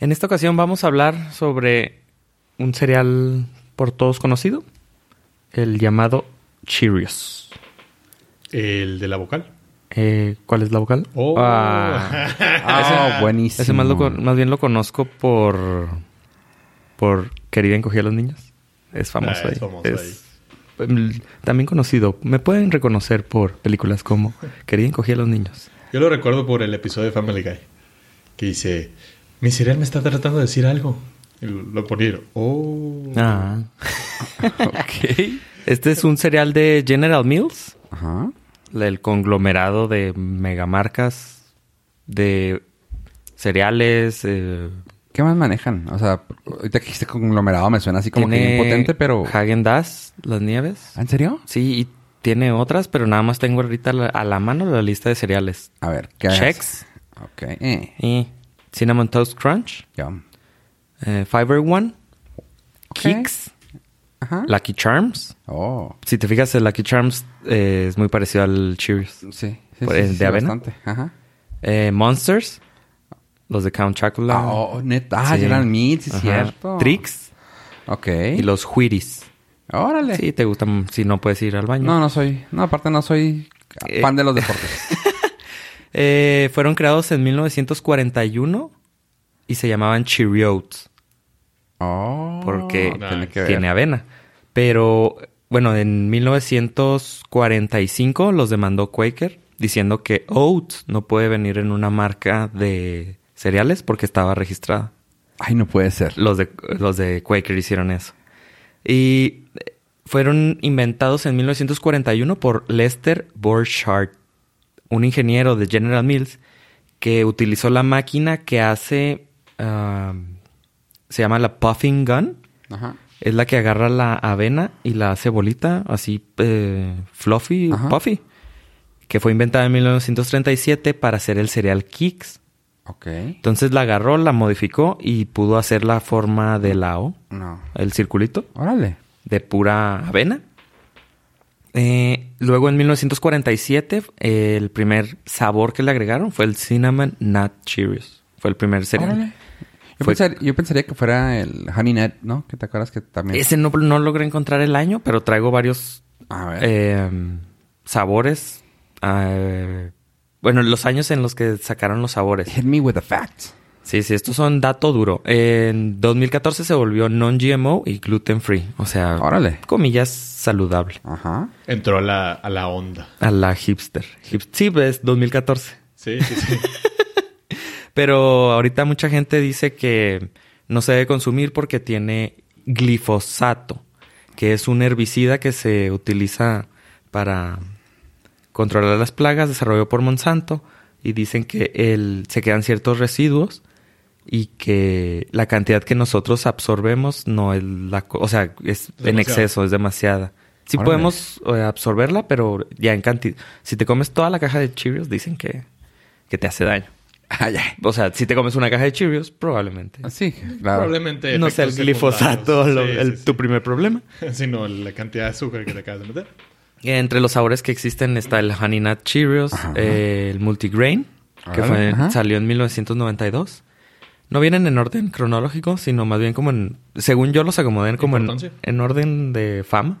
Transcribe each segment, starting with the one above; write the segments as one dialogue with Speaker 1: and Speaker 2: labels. Speaker 1: En esta ocasión vamos a hablar sobre un cereal por todos conocido, el llamado Cheerios.
Speaker 2: El de la vocal.
Speaker 1: Eh, ¿Cuál es la vocal?
Speaker 2: Oh.
Speaker 1: Ah,
Speaker 3: Ah, buenísimo.
Speaker 1: ese más, lo con- más bien lo conozco por por Querida encogía a los niños. Es famoso
Speaker 2: Ah,
Speaker 1: ahí.
Speaker 2: es famoso
Speaker 1: em, También conocido. Me pueden reconocer por películas como Querida encogía a los niños.
Speaker 2: Yo lo recuerdo por el episodio de Family Guy. Que dice, mi cereal me está tratando de decir algo. Y lo ponieron. Oh.
Speaker 1: Ah.
Speaker 3: Ok.
Speaker 1: Este es un cereal de General Mills.
Speaker 3: Ajá.
Speaker 1: el conglomerado de megamarcas de cereales. eh,
Speaker 3: ¿Qué más manejan? O sea, ahorita que dijiste conglomerado me suena así como que
Speaker 1: tiene
Speaker 3: bien potente, pero...
Speaker 1: Häagen Dazs, las nieves.
Speaker 3: ¿Ah, ¿En serio?
Speaker 1: Sí, y tiene otras, pero nada más tengo ahorita la- a la mano la lista de cereales.
Speaker 3: A ver, ¿qué es?
Speaker 1: Chex
Speaker 3: Ok. Eh,
Speaker 1: y Cinnamon Toast Crunch,
Speaker 3: ya.
Speaker 1: eh, Fiber One,
Speaker 3: Ok.
Speaker 1: Kix,
Speaker 3: Ajá.
Speaker 1: Lucky Charms.
Speaker 3: Oh.
Speaker 1: Si te fijas, el Lucky Charms eh, es muy parecido al Cheerios.
Speaker 3: Sí. sí,
Speaker 1: Por-
Speaker 3: sí,
Speaker 1: Pues, ¿de
Speaker 3: sí,
Speaker 1: avena?
Speaker 3: Bastante. Ajá.
Speaker 1: Eh, Monsters, los de Count Chocula.
Speaker 3: Ah, oh, neta. Ah,
Speaker 1: Sí.
Speaker 3: eran Meats, sí,
Speaker 1: Ajá.
Speaker 3: cierto.
Speaker 1: Trix
Speaker 3: Ok.
Speaker 1: y los Whiris.
Speaker 3: Órale.
Speaker 1: Sí, te gustan si no puedes ir al baño.
Speaker 3: No, no soy... No, aparte no soy
Speaker 1: Eh.
Speaker 3: fan de los deportes.
Speaker 1: Eh, fueron creados en 1941 y se llamaban Cheerios
Speaker 3: oh.
Speaker 1: porque
Speaker 2: no,
Speaker 3: tiene que ver.
Speaker 1: tiene avena. Pero bueno, en 1945 los demandó Quaker diciendo que Oats no puede venir en una marca de cereales porque estaba registrada.
Speaker 3: Ay, no puede ser.
Speaker 1: Los de, los de Quaker hicieron eso. Y eh, fueron inventados en 1941 por Lester Borchardt, un ingeniero de General Mills que utilizó la máquina que hace. ah, se llama la Puffing Gun.
Speaker 3: Ajá.
Speaker 1: Es la que agarra la avena y la hace bolita, así eh, fluffy,
Speaker 3: Ajá.
Speaker 1: puffy. Que fue inventada en 1937 para hacer el cereal Kicks.
Speaker 3: Ok.
Speaker 1: Entonces la agarró, la modificó y pudo hacer la forma de la O,
Speaker 3: No.
Speaker 1: el circulito,
Speaker 3: Órale.
Speaker 1: de pura avena. Eh, luego en 1947 el primer sabor que le agregaron fue el Cinnamon Nut Cheerios. Fue el primer cereal.
Speaker 3: Órale. Yo,
Speaker 1: Fue-
Speaker 3: pensar- yo pensaría que fuera el Honey Nut, ¿no? Que te acuerdas que también...
Speaker 1: Ese no, no logré encontrar el año, pero traigo varios
Speaker 3: A ver.
Speaker 1: eh, sabores. eh, bueno, los años en los que sacaron los sabores.
Speaker 3: Hit me with the facts.
Speaker 1: Sí, sí, estos son dato duro. En 2014 se volvió non-GMO y gluten free. O sea,
Speaker 3: Órale.
Speaker 1: comillas, saludable.
Speaker 3: Ajá.
Speaker 2: Entró a la, a la onda.
Speaker 1: A la hipster. Hip- sí, es 2014.
Speaker 2: Sí, sí, sí.
Speaker 1: Pero ahorita mucha gente dice que no se debe consumir porque tiene glifosato, que es un herbicida que se utiliza para controlar las plagas, desarrollado por Monsanto, y dicen que el- se quedan ciertos residuos y que la cantidad que nosotros absorbemos no es la... co- O sea, es en
Speaker 2: Demasiado.
Speaker 1: exceso, es demasiada. Sí
Speaker 3: Órale.
Speaker 1: podemos eh, absorberla, pero ya en cantidad... Si te comes toda la caja de Cheerios, dicen que, que te hace daño. Ah,
Speaker 3: Ay, ay.
Speaker 1: O sea, si te comes una caja de Cheerios, probablemente.
Speaker 3: Sí, claro.
Speaker 2: Probablemente.
Speaker 1: no sea el
Speaker 2: efectos
Speaker 1: glifosato
Speaker 2: secundarios.
Speaker 1: lo-
Speaker 2: Sí,
Speaker 1: el-
Speaker 2: sí,
Speaker 1: tu
Speaker 2: sí.
Speaker 1: primer problema.
Speaker 2: Sino la cantidad de azúcar que le acabas de meter.
Speaker 1: Eh, Entre los sabores que existen está el Honey Nut Cheerios,
Speaker 3: Ajá.
Speaker 1: eh, el Multigrain, que
Speaker 3: Órale,
Speaker 1: fue-
Speaker 3: ajá.
Speaker 1: salió en 1992. No vienen en orden cronológico, sino más bien como en... Según yo los acomodé en como en,
Speaker 2: Importancia.
Speaker 1: en orden de fama.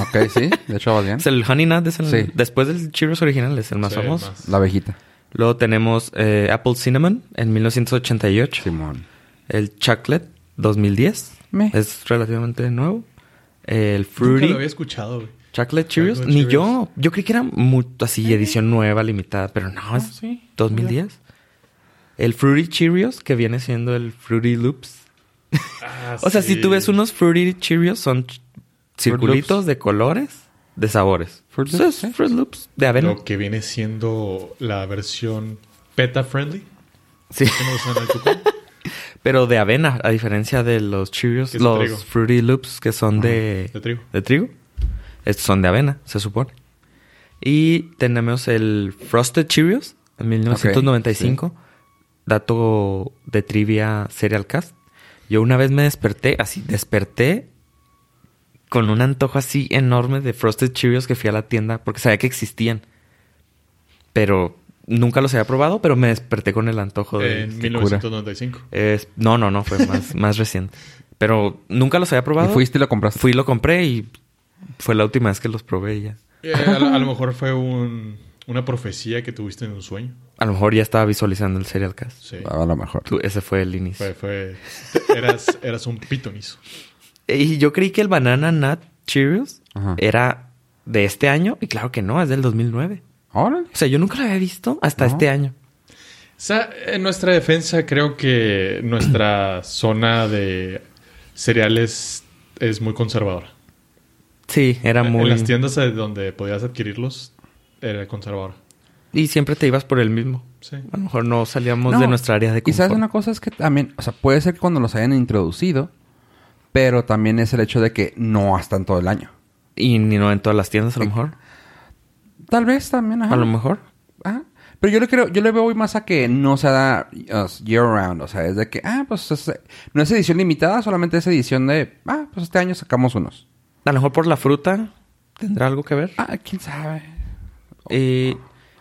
Speaker 3: Ok, sí. De hecho, vas bien.
Speaker 1: O sea, el Honey Nut es el...
Speaker 3: Sí.
Speaker 1: Después del Cheerios original es el más
Speaker 2: Sí,
Speaker 1: famoso.
Speaker 2: más.
Speaker 3: La abejita.
Speaker 1: Luego tenemos eh, Apple Cinnamon en 1988.
Speaker 3: Simón.
Speaker 1: El Chocolate 2010.
Speaker 3: Meh.
Speaker 1: Es relativamente nuevo. El
Speaker 2: Nunca lo había
Speaker 1: Fruity.
Speaker 2: escuchado, güey.
Speaker 1: Chocolate Cheerios.
Speaker 2: Chocolate
Speaker 1: Ni
Speaker 2: Cheerios.
Speaker 1: yo. Yo creí que era mu- así edición nueva, limitada. Pero no, es
Speaker 2: sí.
Speaker 1: 2010. El Fruity Cheerios, que viene siendo el Fruity Loops.
Speaker 2: Ah,
Speaker 1: O sea, si
Speaker 2: sí.
Speaker 1: tú ves unos Fruity Cheerios, son ch- circulitos
Speaker 3: Loops.
Speaker 1: de colores, de sabores.
Speaker 3: Fruit
Speaker 1: Fruit Loops,
Speaker 3: Loops, ¿eh?
Speaker 1: Fruit Loops de avena.
Speaker 2: Lo que viene siendo la versión peta friendly.
Speaker 1: Sí.
Speaker 2: que no usan alcohol.
Speaker 1: Pero de avena, a diferencia de los Cheerios,
Speaker 2: Que es
Speaker 1: los
Speaker 2: trigo.
Speaker 1: Fruity Loops que son de,
Speaker 2: de trigo.
Speaker 1: de trigo. Estos son de avena, se supone. Y tenemos el Frosted Cheerios en 1995. Dato de trivia Serial Cast. Yo una vez me desperté, así, desperté con un antojo así enorme de Frosted Cheerios que fui a la tienda porque sabía que existían. Pero nunca los había probado, pero me desperté con el antojo de...
Speaker 2: en
Speaker 1: qué cura.
Speaker 2: 1995.
Speaker 1: Es- no, no, no, fue más, más reciente. Pero nunca los había
Speaker 3: Y
Speaker 1: probado.
Speaker 3: fuiste y lo compraste.
Speaker 1: Fui y lo compré y fue la última vez que los probé y ya.
Speaker 2: Eh, a, lo- a lo mejor fue un- una profecía que tuviste en un sueño.
Speaker 1: A lo mejor ya estaba visualizando el Serial Cast.
Speaker 2: Sí.
Speaker 3: A lo mejor.
Speaker 1: Tú- ese fue el inicio.
Speaker 2: Fue, fue, eras, eras un pitonizo.
Speaker 1: Y yo creí que el Banana Nut Cheerios
Speaker 3: Ajá.
Speaker 1: era de este año. Y claro que no, es del 2009.
Speaker 3: Órale.
Speaker 1: O sea, yo nunca lo había visto hasta
Speaker 3: No.
Speaker 1: este año.
Speaker 2: Sa- en nuestra defensa, creo que nuestra zona de cereales es muy conservadora.
Speaker 1: Sí, era
Speaker 2: En
Speaker 1: muy...
Speaker 2: las tiendas eh, donde podías adquirirlos, era conservadora.
Speaker 1: Y siempre te ibas por el mismo.
Speaker 2: Sí.
Speaker 1: A lo mejor no salíamos
Speaker 3: No,
Speaker 1: de nuestra área de
Speaker 3: Y
Speaker 1: confort.
Speaker 3: sabes una cosa es que también, o sea, puede ser que cuando los hayan introducido, pero también es el hecho de que no están todo el año.
Speaker 1: Y ni no en todas las tiendas, a lo mejor.
Speaker 3: Tal vez también, ajá.
Speaker 1: A lo mejor.
Speaker 3: Ajá. Ah, Pero yo le creo, yo le veo hoy más a que no se da o sea, year round, o sea, es de que, ah, pues es- no es edición limitada, solamente es edición de, ah, pues este año sacamos unos.
Speaker 1: A lo mejor por la fruta tendrá algo que ver.
Speaker 3: Ah, quién sabe.
Speaker 1: Y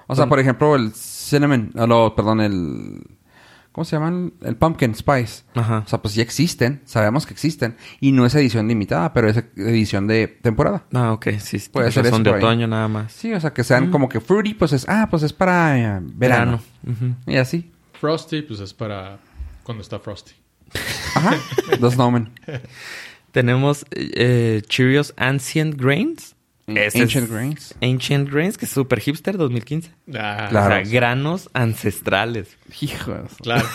Speaker 3: O sea, por ejemplo, el cinnamon, ah, no, perdón, el, ¿cómo se llaman? El pumpkin spice.
Speaker 1: Ajá.
Speaker 3: O sea, pues ya existen, sabemos que existen, y no es edición limitada, pero es edición de temporada.
Speaker 1: Ah, ok, sí. sí,
Speaker 3: Puede
Speaker 1: tienes
Speaker 3: ser
Speaker 1: razón,
Speaker 3: eso
Speaker 1: de
Speaker 3: por ahí.
Speaker 1: otoño nada más.
Speaker 3: Sí, o sea, que sean como que fruity, pues es, ah, pues es para eh, verano.
Speaker 1: Verano.
Speaker 3: Y así.
Speaker 2: Frosty, pues es para cuando está Frosty.
Speaker 3: Ajá. Los snowmen.
Speaker 1: Tenemos eh, eh, Cheerios Ancient Grains. Ese
Speaker 3: Mm, Ancient
Speaker 1: es-
Speaker 3: Grains.
Speaker 1: Ancient Grains, que es super hipster 2015.
Speaker 2: Ah,
Speaker 3: Claro.
Speaker 1: O sea, granos ancestrales.
Speaker 3: Hijos.
Speaker 2: claro.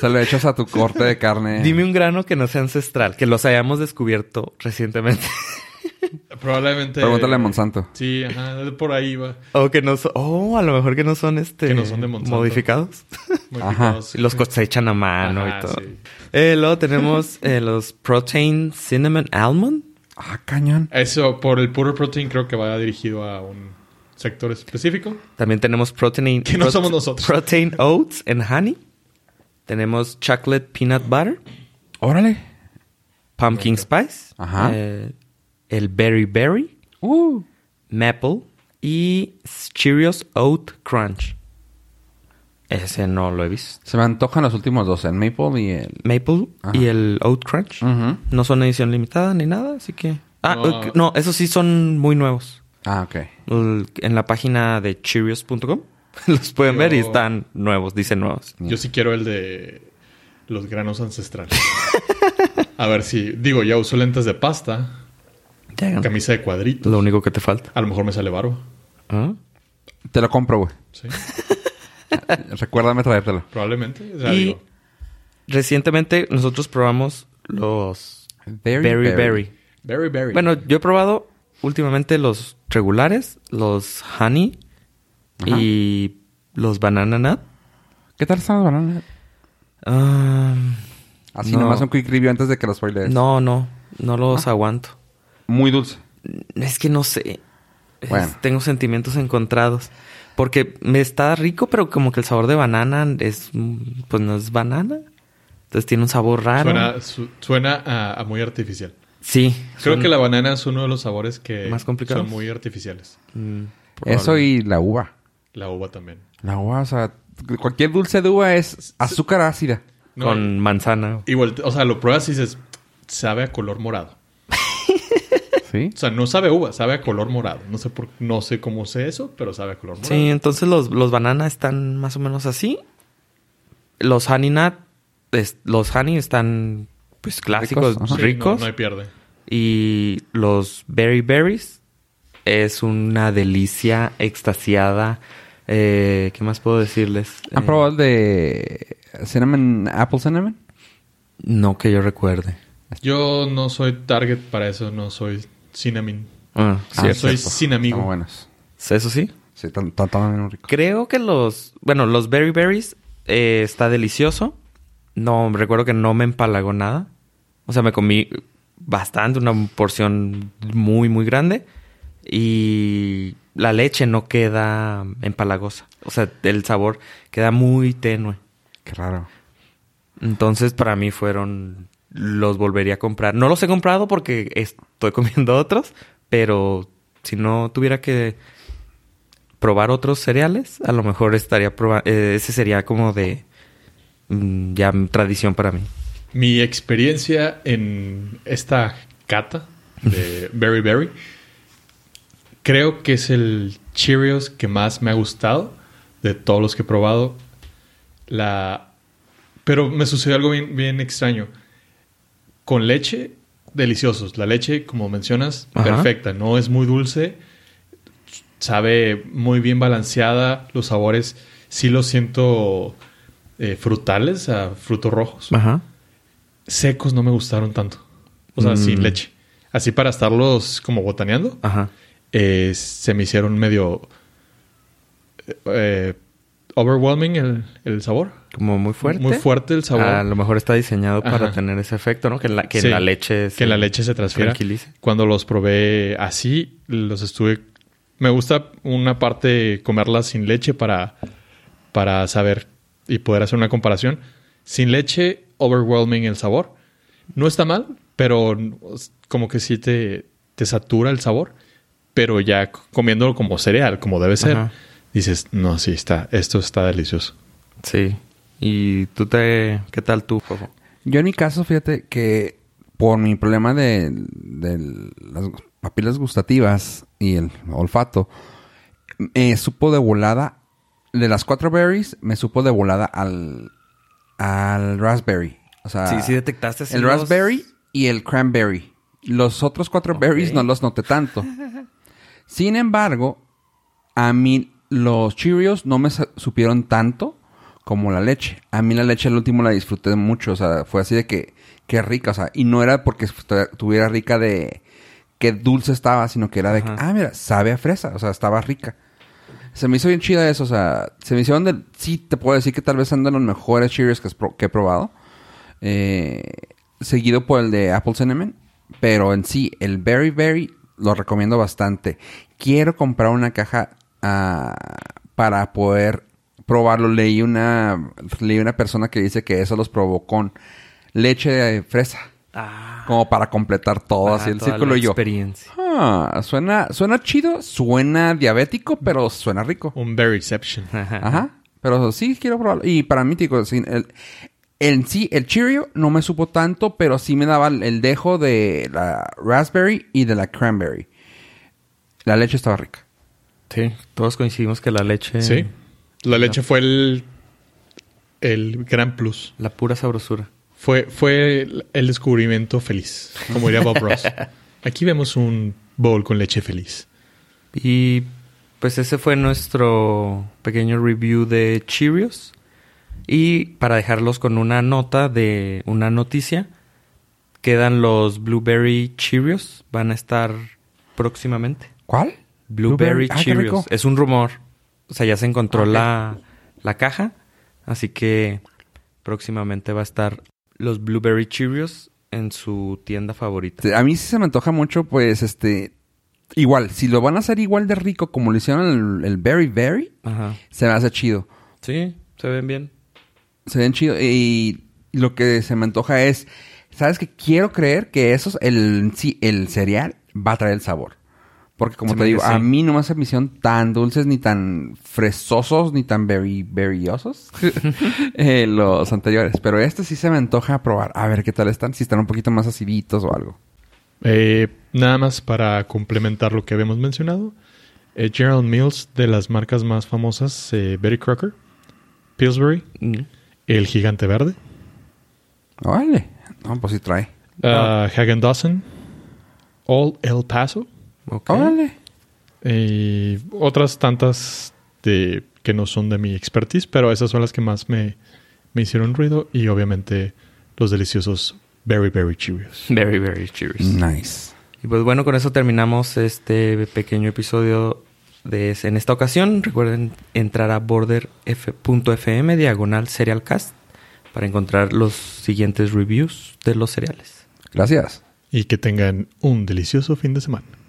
Speaker 3: Se lo echas a tu corte de carne.
Speaker 1: Dime un grano que no sea ancestral, que los hayamos descubierto recientemente.
Speaker 2: Probablemente.
Speaker 3: Pregúntale a Monsanto.
Speaker 2: Sí, ajá, por ahí va.
Speaker 1: o que no son... Oh, a lo mejor que no son este...
Speaker 2: Que no son de Monsanto.
Speaker 1: Modificados.
Speaker 2: Modificados.
Speaker 1: Los cosechan a mano
Speaker 2: Ajá,
Speaker 1: y todo.
Speaker 2: sí.
Speaker 1: Eh, luego tenemos eh, los Protein Cinnamon Almond.
Speaker 3: Ah, cañón.
Speaker 2: Eso, por el puro protein, creo que va dirigido a un sector específico.
Speaker 1: También tenemos protein,
Speaker 2: Que no somos nosotros.
Speaker 1: protein oats and honey. Tenemos chocolate peanut butter,
Speaker 3: Órale.
Speaker 1: pumpkin spice,
Speaker 3: Ajá.
Speaker 1: eh, el berry berry,
Speaker 3: Uh.
Speaker 1: maple y Cheerios oat crunch. Ese no lo he visto.
Speaker 3: Se me antojan los últimos dos, el maple y el...
Speaker 1: Maple
Speaker 3: Ajá.
Speaker 1: y el oat crunch
Speaker 3: Ujú.
Speaker 1: no son edición limitada ni nada, así que ah,
Speaker 2: No.
Speaker 1: ok, no, esos sí son muy nuevos.
Speaker 3: Ah, ok.
Speaker 1: El- En la página de Cheerios.com los pueden ver y
Speaker 2: Yo-
Speaker 1: están nuevos, dicen nuevos.
Speaker 2: Yo sí quiero el de los granos ancestrales. a ver si, digo, ya uso lentes de pasta,
Speaker 1: Llegan.
Speaker 2: camisa de cuadrito.
Speaker 1: Lo único que te falta. ¿ah?
Speaker 2: A lo mejor me sale barba.
Speaker 3: Te lo compro, güey.
Speaker 2: Sí,
Speaker 3: Recuérdame traértelo.
Speaker 2: probablemente. O sea,
Speaker 1: Y-
Speaker 2: digo,
Speaker 1: Recientemente nosotros probamos los
Speaker 3: Berry,
Speaker 1: Berry Berry.
Speaker 2: very, very.
Speaker 1: Bueno, yo he probado últimamente los regulares, los Honey
Speaker 3: Ajá.
Speaker 1: y los Banana Nut.
Speaker 3: ¿Qué tal están los bananas?
Speaker 1: Ah,
Speaker 3: Así
Speaker 1: no.
Speaker 3: nomás un quick review antes de que los spoilers.
Speaker 1: No, no, no
Speaker 3: Ah.
Speaker 1: los aguanto.
Speaker 3: Muy dulce.
Speaker 1: Es que no sé. Es-
Speaker 3: Bueno.
Speaker 1: tengo sentimientos encontrados. Porque me está rico, pero como que el sabor de banana es... mm, Pues no es banana. Entonces tiene un sabor raro.
Speaker 2: suena, su- suena a, a muy artificial.
Speaker 1: Sí.
Speaker 2: Creo
Speaker 1: son-
Speaker 2: que la banana es uno de los sabores que
Speaker 1: Más complicados.
Speaker 2: son muy artificiales.
Speaker 1: Mm,
Speaker 3: Eso y la uva.
Speaker 2: La uva también.
Speaker 3: La uva, o sea, cualquier dulce de uva es azúcar ácida.
Speaker 2: No,
Speaker 1: con manzana.
Speaker 2: Igual, o sea, lo pruebas y dices, sabe a color morado.
Speaker 3: ¿Sí?
Speaker 2: O sea, no sabe a uva, sabe a color morado. No sé por, no sé cómo sé eso, pero sabe a color morado.
Speaker 1: Sí, entonces los, los bananas están más o menos así. Los honey nut, es- los honey están pues clásicos,
Speaker 3: Ricos, ajá.
Speaker 1: ricos.
Speaker 2: Sí, No, no hay pierde.
Speaker 1: Y los berry berries es una delicia extasiada. Eh, ¿Qué más puedo decirles?
Speaker 3: ¿Han
Speaker 1: Eh,
Speaker 3: probado el de cinnamon, apple cinnamon?
Speaker 1: No que yo recuerde.
Speaker 2: Yo no soy target para eso, no soy cinnamon.
Speaker 1: Ah,
Speaker 3: Ah,
Speaker 1: cierto.
Speaker 2: soy sin amigo.
Speaker 3: Están buenos.
Speaker 1: Eso sí.
Speaker 3: Sí, están están- están bien ricos.
Speaker 1: Creo que los, bueno, los berry berries eh, está delicioso. No, recuerdo que no me empalagó nada. O sea, me comí bastante, una porción muy, muy grande. Y la leche no queda empalagosa. O sea, el sabor queda muy tenue.
Speaker 3: Qué raro.
Speaker 1: Entonces, para mí fueron los volvería a comprar. No los he comprado porque estoy comiendo otros, pero si no tuviera que probar otros cereales, a lo mejor estaría probando. ese sería como de mm, ya tradición para mí.
Speaker 2: Mi experiencia en esta cata de Berry Berry creo que es el Cheerios que más me ha gustado de todos los que he probado. La... Pero me sucedió algo bien, bien extraño. Con leche, deliciosos. La leche, como mencionas,
Speaker 1: Ajá.
Speaker 2: perfecta. No es muy dulce. Sabe muy bien balanceada. Los sabores sí los siento eh, frutales, a frutos rojos.
Speaker 1: Ajá.
Speaker 2: Secos no me gustaron tanto. O sea, sin leche. Así para estarlos como botaneando
Speaker 1: Ajá.
Speaker 2: eh, se me hicieron medio eh, overwhelming el, el sabor.
Speaker 1: Como muy fuerte.
Speaker 2: Muy fuerte el sabor.
Speaker 1: A lo mejor está diseñado para
Speaker 2: Ajá.
Speaker 1: tener ese efecto, ¿no? Que la, que
Speaker 2: Sí,
Speaker 1: la leche
Speaker 2: que la leche se transfiera.
Speaker 1: tranquilice.
Speaker 2: Cuando los probé así, los estuve... Me gusta una parte comerla sin leche para, para saber y poder hacer una comparación. Sin leche, overwhelming el sabor. No está mal, pero como que sí te, te satura el sabor. Pero ya comiéndolo como cereal, como debe ser,
Speaker 1: Ajá.
Speaker 2: dices, no, sí, está, esto está delicioso.
Speaker 1: Sí. ¿Y tú te... ¿Qué tal tú, Fofo?
Speaker 3: Yo en mi caso, fíjate que por mi problema de, de las papilas gustativas y el olfato, me supo de volada, de las cuatro berries, me supo de volada al, al raspberry. O sea,
Speaker 1: Sí, sí detectaste así
Speaker 3: El
Speaker 1: los-
Speaker 3: raspberry y el cranberry. Los otros cuatro
Speaker 1: Ok.
Speaker 3: berries no los noté tanto. Sin embargo, a mí los Cheerios no me sa- supieron tanto como la leche. A mí la leche al último la disfruté mucho. O sea, fue así de que, que rica. O sea, y no era porque estuviera rica de que dulce estaba, sino que era de que,
Speaker 1: Ajá.
Speaker 3: ah, mira, sabe a fresa. O sea, estaba rica. Se me hizo bien chida eso. O sea, se me hicieron de... Sí, te puedo decir que tal vez andan los mejores Cheerios que, has pro- que he probado. Eh, seguido por el de Apple Cinnamon. Pero en sí, el Berry Berry lo recomiendo bastante. Quiero comprar una caja ah, para poder probarlo. Leí una, leí una persona que dice que eso los probó con leche de fresa.
Speaker 1: Ah.
Speaker 3: Como para completar todo
Speaker 1: Ajá,
Speaker 3: Oh, así el
Speaker 1: Ah, toda
Speaker 3: círculo
Speaker 1: la
Speaker 3: y yo.
Speaker 1: experiencia.
Speaker 3: Ah, suena, suena chido, suena diabético, pero suena rico.
Speaker 2: Un berryception.
Speaker 3: Ajá. Pero sí quiero probarlo. Y para mí, tico, sí, el, en sí, el Cheerio no me supo tanto, pero sí me daba el, el dejo de la raspberry y de la cranberry. La leche estaba rica.
Speaker 1: Sí, todos coincidimos que la leche...
Speaker 2: Sí. La leche fue el, el gran plus.
Speaker 1: La pura sabrosura.
Speaker 2: Fue, fue el- el descubrimiento feliz, como diría Bob Ross. Aquí vemos un bowl con leche feliz.
Speaker 1: Y pues ese fue nuestro pequeño review de Cheerios. Y para dejarlos con una nota de una noticia, quedan los Blueberry Cheerios. Van a estar próximamente.
Speaker 3: ¿Cuál?
Speaker 1: Blueberry,
Speaker 3: Ah, qué
Speaker 1: Cheerios.
Speaker 3: rico.
Speaker 1: Es un rumor. O sea, ya se encontró
Speaker 3: Ok.
Speaker 1: la, la caja. Así que próximamente va a estar los Blueberry Cheerios en su tienda favorita.
Speaker 3: Este, A mí sí se me antoja mucho, pues, este... Igual, si lo van a hacer igual de rico como lo hicieron el, el Berry Berry,
Speaker 1: Ajá.
Speaker 3: se me hace chido.
Speaker 1: Sí, se ven bien.
Speaker 3: Se ven chido. Y lo que se me antoja es, ¿sabes qué? Quiero creer que esos, el, sí, el cereal va a traer el sabor. Porque como
Speaker 1: Se
Speaker 3: te
Speaker 1: me
Speaker 3: digo,
Speaker 1: hace,
Speaker 3: a
Speaker 1: sí.
Speaker 3: mí no me hace misión tan dulces, ni tan fresosos, ni tan berry, berryosos eh, los anteriores. Pero este sí se me antoja probar. A ver qué tal están, si están un poquito más aciditos o algo.
Speaker 2: Eh, nada más para complementar lo que habíamos mencionado. eh, Gerald Mills, de las marcas más famosas, eh, Betty Crocker, Pillsbury,
Speaker 1: Mm.
Speaker 2: El Gigante Verde,
Speaker 3: Vale. No, pues sí trae.
Speaker 2: ah, Hagen Dawson, All El Paso,
Speaker 1: Ok.
Speaker 3: Órale.
Speaker 2: y Eh, otras tantas de, que no son de mi expertise, pero esas son las que más me, me hicieron ruido y obviamente los deliciosos Berry Berry Cheerios.
Speaker 1: Very, very cheers.
Speaker 3: Mm. Nice.
Speaker 1: Y pues bueno, con eso terminamos este pequeño episodio de es- en esta ocasión. Recuerden entrar a borderf.fm diagonal serialcast para encontrar los siguientes reviews de los cereales.
Speaker 3: Gracias.
Speaker 2: y que tengan un delicioso fin de semana.